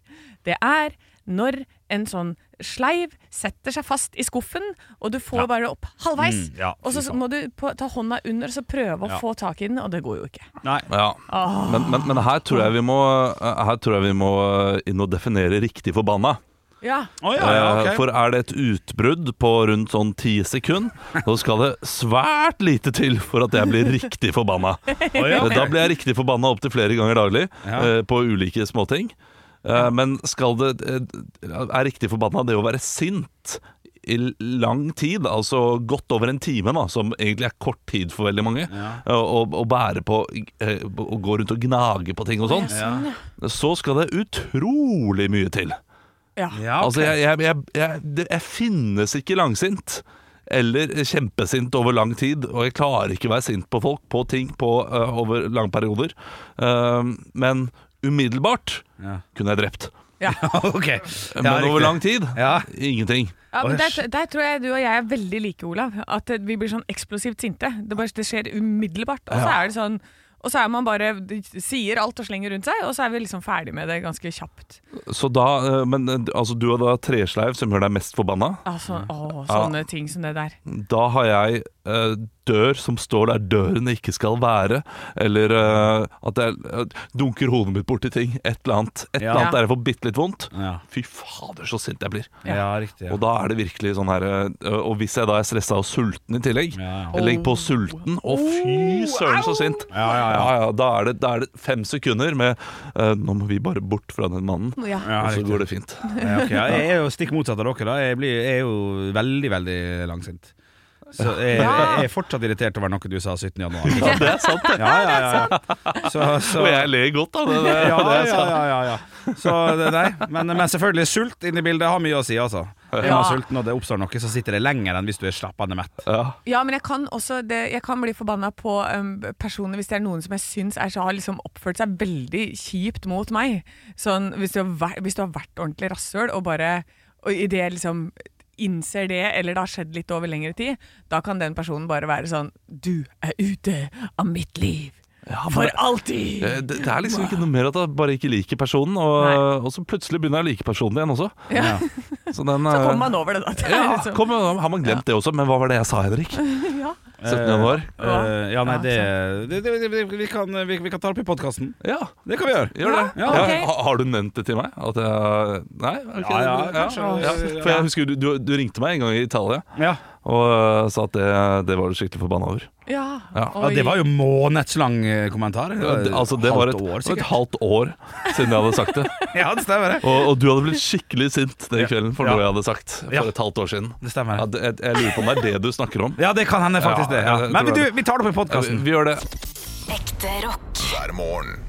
Det er når en sånn sleiv setter seg fast i skuffen, og du får bare opp halvveis. Mm, ja, og så fy faen. må du på, ta hånda under og så prøve å Ja. få tak i den, og det går jo ikke. Nei. Ja. Men, men, men her tror jeg vi må eh, Her tror jeg vi må eh, inn og definere riktig forbanna. Ja, Å ja, ja, Eh, ok. For er det et utbrudd på rundt sånn ti sekund, så skal det svært lite til for at jeg blir riktig forbanna. Eh, Å ja, ok. Da blir jeg riktig forbanna opptil flere ganger daglig Ja. eh, på ulike småting. Eh, Men skal det eh, Er riktig forbanna det å være sint i lang tid, altså godt over en time, da, som egentlig er kort tid for veldig mange, eh, å å bære på eh, Å gå rundt og gnage på ting og sånn, Ja. så skal det utrolig mye til. ja. Ja, Ah, ok. Altså, jeg, jeg, jeg, jeg, det, jeg finnes ikke langsint. Eller kjempesint over lang tid, og jeg klarer ikke å være sint på folk, på ting, på, øh, over lange perioder. Ehm, men umiddelbart Ja. kunne jeg drept. Ok. Men over lang tid Ja. ingenting. Ja, men Oi, der, shit. der tror jeg du og jeg er veldig like, Olav. At eh, vi blir sånn eksplosivt sinte. Det, bare, det skjer umiddelbart. Og så er det sånn og så er man bare sier alt og slenger rundt seg, og så er vi liksom ferdig med det ganske kjapt. Så da, øh, men øh, altså, du er da tresleiv som gjør deg mest forbanna. Altså, Mm. å, sånne ting som det der. Da har jeg øh, dør som står der døren ikke skal være. Eller øh, at jeg øh, dunker hodet mitt borti ting. Et eller annet. Et Ja. eller annet der jeg får bitte litt vondt. Ja. Fy fader, så sint jeg blir. ja, riktig. Ja. Og da er det virkelig sånn her øh, Og hvis jeg da er stressa og sulten i tillegg Ja, ja. jeg Legg på sulten, og Oh, fy søren så sint! Ja, ja, ja. da, er det, da er det fem sekunder med øh, 'nå må vi bare bort fra den mannen', Ja. Mm. Ja, og så riktig. går det fint. Ja, ok. Ja, Jeg er jo stikk motsatt av dere. da Jeg, blir, jeg er jo veldig, veldig langsint. Så jeg, jeg er fortsatt irritert over noe du sa 17. januar. Ja, Det er sant, det. ja, ja, ja. Så, så, Og ja, jeg ler godt av det. det, ja, det er ja, sant. ja, ja, ja. Så det, nei. Men, men selvfølgelig, sult inni bildet har mye å si, altså. Er Ja. man sulten og det oppstår noe, så sitter det lenger enn hvis du er slappende mett. Ja. Ja, men jeg kan også det, Jeg kan bli forbanna på um, personer hvis det er noen som jeg syns er, så har liksom oppført seg veldig kjipt mot meg. Sånn, hvis du har vært, hvis du har vært ordentlig rasshøl, og bare og i det jeg liksom innser det, eller det har skjedd litt over lengre tid, da kan den personen bare være sånn Du er ute av mitt liv. For alltid! Eh, Det, det er liksom ikke noe mer at jeg bare ikke liker personen, og, og så plutselig begynner jeg å like personen igjen også. Ja. Så, den, Så eh, kommer man over det, da. Det er ja, liksom- kom, har man glemt det også? Men hva var det jeg sa, Henrik? 17. januar? Eh, ja, Ja, nei, det, det, det, det vi, kan, vi, vi kan ta det opp i podkasten. Ja. Det kan vi gjøre. Gjør det. Ja, Ja, ok. ha- Har du nevnt det til meg? At jeg Nei? ok. Ja, ja, kanskje. For jeg husker du, du, du ringte meg en gang i Italia, Ja. og eh, sa at det, det var du skikkelig forbanna over. Ja, Ja. Ja, det var jo månedslang eh, kommentar. Ja, det, altså, det var et, halvt år, det var et sikkert. halvt år siden jeg hadde sagt det. Ja, det stemmer. det. Og, og du hadde blitt skikkelig sint den Ja. kvelden for Ja. noe jeg hadde sagt for Ja. et halvt år siden. Det stemmer. Ja, det, jeg, jeg lurer på om det er det du snakker om. Ja, det kan hende faktisk Ja, det. Ja. jeg Men tror vi, det. vi tar det Ja, opp i vi, podkasten. vi gjør det. Ekte rock. hver morgen.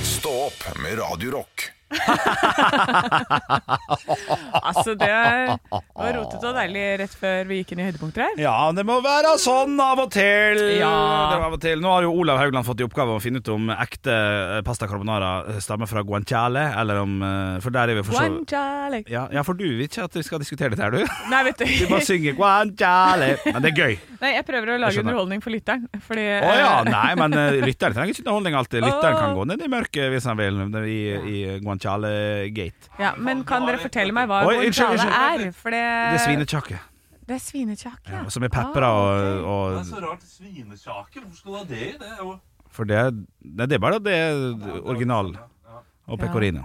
Stå opp med Radio Rock. altså det var rotete og deilig rett før vi gikk inn i høydepunkter her. Ja, det må være sånn av og til. Ja. Det var av og til. Nå har jo Olav Haugland fått i oppgave å finne ut om ekte eh, pasta carbonara stammer fra guanciale, eller om eh, For der er vi for så Guanciale. ja, ja, for du vil ikke at vi skal diskutere dette her, du? Nei, vet Du bare du. synger guanciale. Men det er gøy. Nei, jeg prøver å lage Jeg skjønner. underholdning for lytteren. Fordi Å ja, nei, men eh, lytteren trenger ikke underholdning alltid. Lytteren kan gå ned i mørket hvis han vil, i, i guanciale gate. Ja, men kan dere fortelle meg hva Oi, unnskyld, guanciale unnskyld. er? For det, Det er svinekjakke, Det er svinekjakk, ja. Ah, som er pepra og, og rart. Svinekjake, hvor skal du ha det i? Det er jo For det, nei, det er bare det er original og pecorino.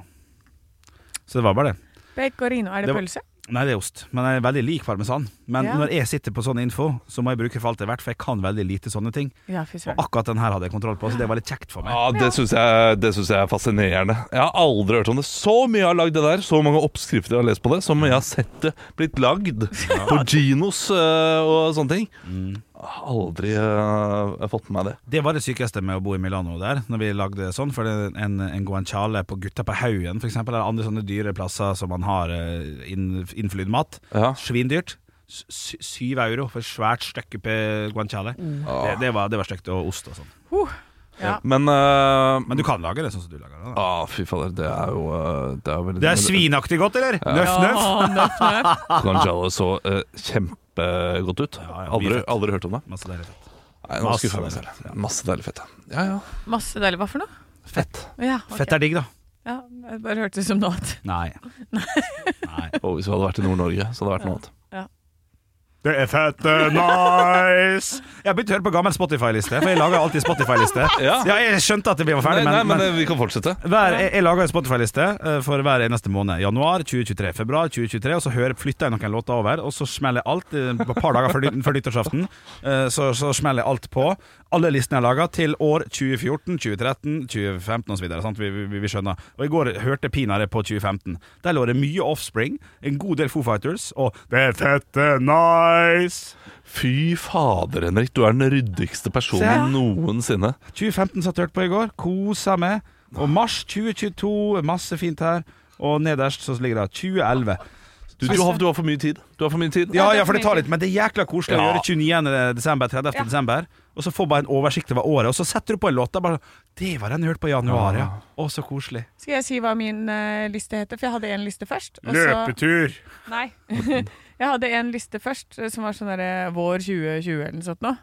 Så det var bare det. Pecorino, er det, Det var- pølse? Nei, det er ost, men jeg er veldig lik parmesan. Men Ja. når jeg sitter på sånn info, så må jeg bruke for alt det er verdt, for jeg kan veldig lite sånne ting. Ja, fy Og søren. akkurat den her hadde jeg kontroll på, så det var litt kjekt for meg. Ja, det syns jeg, det synes jeg er fascinerende. Jeg har aldri hørt om det. Så mye jeg har lagd det der, så mange oppskrifter jeg har lest på det, så mye jeg har sett det blitt lagd på Ginos eh, og sånne ting. Mm. Aldri eh, fått med meg det. Det var det sykeste med å bo i Milano der, når vi lagde det sånn. For det er en, en guanciale på Gutta på haugen, f.eks., eller andre sånne dyre plasser som man har eh, inn, innflydd mat. Ja. Svindyrt. S- sy- Syv euro for et svært stykke pe- guanciale. Mm. Ah. Det, det var, det var stygt. Og ost og sånn. Huh. Ja. Men, eh, Men du kan lage det sånn som du lager det. da. ah, Fy fader, det er jo eh, Det er, veldig, Det er svinaktig godt, eller? Nøff, nøff. Ah. Åh, nøff, nøff. Guanciale så eh, kjempegodt ut. Ja, ja, mye Aldri, fett. aldri hørt om det. Masse deilig fett. Nei, nå Masse skuffer jeg meg deilig selv. Masse deilig fett. ja. Ja, ja. Masse deilig. Hva for noe? Fett. Ja, ok. Fett er digg, da. ja, jeg bare hørtes ut som noe annet. Nei. Nei. Og hvis vi hadde vært i Nord-Norge, så hadde det vært noe annet. Det er fett eh, nice! Jeg har begynt å høre på gammel Spotify-liste, for jeg lager alltid Spotify-liste. Ja. jeg skjønte at vi var Nei, ferdig, nei, men, men men eh, vi kan fortsette. hver, jeg, jeg lager en Spotify-liste eh, for hver eneste måned. Januar 2023, februar 2023, og så hører, flytter jeg noen låter over, og så smeller jeg alt eh, på et par dager før, nytt- før nyttårsaften. eh, Så, så smeller jeg alt på, alle listene jeg lager, til år 2014, 2013, 2015 osv. Vi, vi, vi skjønner. Og i går hørte jeg pinadø på 2015. Der lå det mye Offspring, en god del Foo Fighters og Det er fette nice! Fy fader, Henrik. Du er den ryddigste Se. personen noensinne. 2015 satt hørt på i går, kosa meg. Og mars 2022, masse fint her. Og nederst så ligger det 2011. Du, du, har, du har for mye tid. Du har for mye tid. Ja, ja, for det tar litt, men det er jækla koselig å Ja. gjøre 29. desember, 30. Ja. desember. Og så får bare en oversikt over året, og så setter du på en låt. og Bare, det var den jeg hørte på i januar, ja. Å, så koselig. Skal jeg si hva min eh, liste heter? For jeg hadde en liste først. og så- Løpetur! Nei. jeg hadde en liste først eh, som var sånn derre vår 2020 eller noe sånt nå.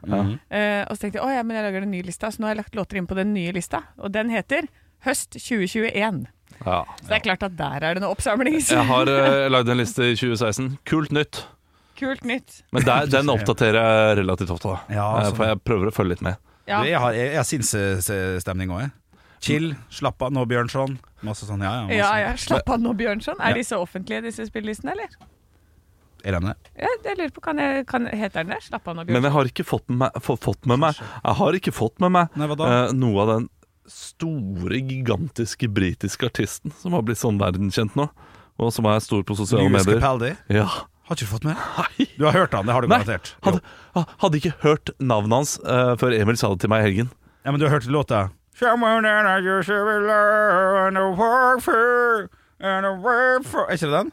Eh, og så tenkte jeg å ja, men jeg lager en ny lista, så nå har jeg lagt låter inn på den nye lista. Og den heter Høst 2021. Ja. Så det er klart at der er det noe oppsamlings. Jeg har uh, lagd en liste i 2016. Kult nytt. Kult nytt. Men der, den oppdaterer jeg relativt ofte, da. Ja, Eh, sånn. For jeg prøver å følge litt med. Ja. Jeg har, jeg jeg har sinnsstemning òg, jeg. Chill, slapp av nå, Bjørnson. Masse sånn, ja, ja. Masse. Ja, ja. Slapp av nå, Bjørnson. Er disse offentlige, disse spillelistene, eller? Er den det? Ja, jeg lurer på, kan jeg, kan, Heter den det? Slapp av nå, Men Bjørnson. jeg har ikke fått med meg, få- fått med meg, jeg har ikke fått med meg Nei, hva da? eh, noe av den store, gigantiske britiske artisten som har blitt sånn verdenskjent nå, og som er stor på sosiale Lewis medier. Capaldi? Ja. Har ikke du fått med det? Nei. Du har hørt han, det har du Nei, garantert. Jo. hadde, ha- hadde ikke hørt navnet hans eh, før Emil sa det til meg i helgen. Ja, men du har hørt låta Someone that I used to love and I work for and I work for Er ikke det den?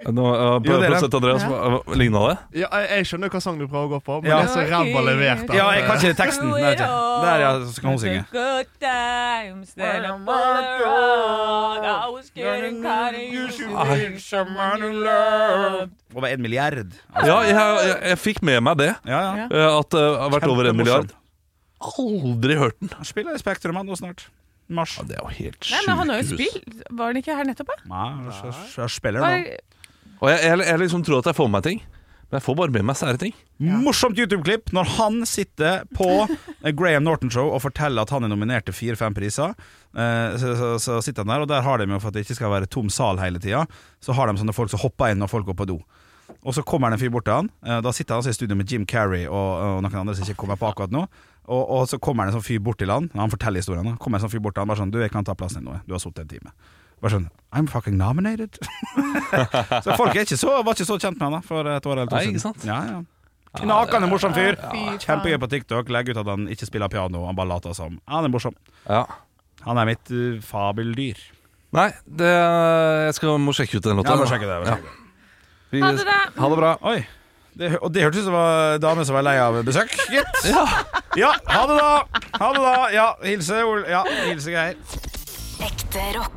Nå, uh, Jo, det er den. prosent Andreas, uh, ligna det? Ja, jeg, jeg skjønner hva sang du prøver å gå på, men Ja. det er så ræva levert. at, Ja, jeg kan eh, ikke teksten. Nei, ikke. Der, ja, så kan hun synge. Good times that are Well, around. I was getting kinda used to being someone you loved. Over en milliard. Ja, jeg, jeg, jeg fikk med meg det. Ja, ja. eh, At det har vært over en milliard. Kjempemorsom. Aldri hørt den. Han spiller i Spektrum han nå snart. Mars. Ja, det er jo helt Nei, men han har jo sjukehus. spilt. Var han ikke her nettopp, da? Nei, så- så jeg spiller Var, nå. Og jeg, jeg, jeg liksom tror at jeg får med meg ting, men jeg får bare med meg sære ting. Morsomt YouTube-klipp når han sitter på Graham Norton Show og forteller at han er nominert til fire-fem priser. Eh, Så, så, så sitter han der, og der har de jo for at det ikke skal være tom sal hele tida, så har de sånne folk som hopper inn når folk går på do. Og så kommer det en fyr bort til han. Eh, Da sitter han altså i studio med Jim Carrey og, og noen andre som ikke kommer på akkurat nå. Og, og så kommer det en sånn fyr bort til han. Han forteller historien. da. Kommer en sånn fyr bort til han bare sånn Du, jeg kan ta plassen din nå. Du har sittet en time. Bare sånn I'm fucking nominated. så folk er ikke så, var ikke så kjent med han da for et år eller to Nei, siden. ikke sant? Ja, ja. Knakende morsom fyr. Fy Kjempegøy på TikTok. Legg ut at han ikke spiller piano, han bare later som. Han er morsom. Ja. Han er mitt uh, fabeldyr. Nei, det, jeg skal, må sjekke ut den låta. Ja, bare sjekke det, bare sjekke Vi- Ha det bra. Ha det bra. Oi. Det, hø- og det hørtes ut som det var dame som var lei av besøk, gitt. Ja. ha det, da! Ha det da Ja, hilse Ol... Ja, hilse Geir. Ekte rock.